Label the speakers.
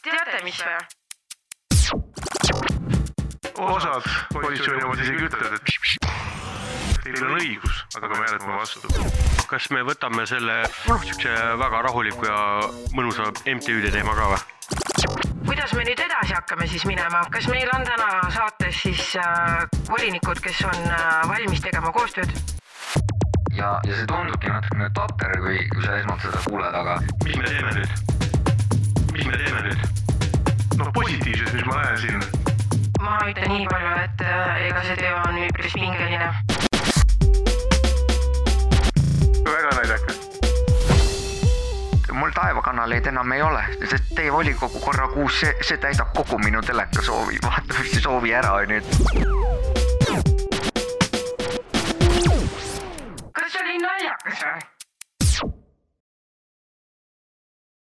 Speaker 1: teate , mis või ?
Speaker 2: osad koalitsiooni omad isegi ütlevad , et teil on õigus , aga me hääletame vastu .
Speaker 3: kas me võtame selle noh , siukse väga rahuliku ja mõnusa MTÜ-de teema ka või ?
Speaker 1: kuidas me nüüd edasi hakkame siis minema , kas meil on täna saates siis äh, volinikud , kes on äh, valmis tegema koostööd ?
Speaker 4: ja , ja see tundubki natukene tapper , kui , kui sa esmalt seda kuuled , aga
Speaker 3: mis me teeme nüüd ? mis me teeme nüüd ?
Speaker 2: noh , positiivsed , mis ma näen siin ,
Speaker 1: ma ütlen nii palju , et äh, ega see töö on üpris pingeline .
Speaker 2: väga naljakas .
Speaker 4: mul taevakanaleid enam ei ole , sest teie volikogu korra kuus , see , see täidab kogu minu telekasoovi , vaatamise soovi ära , onju .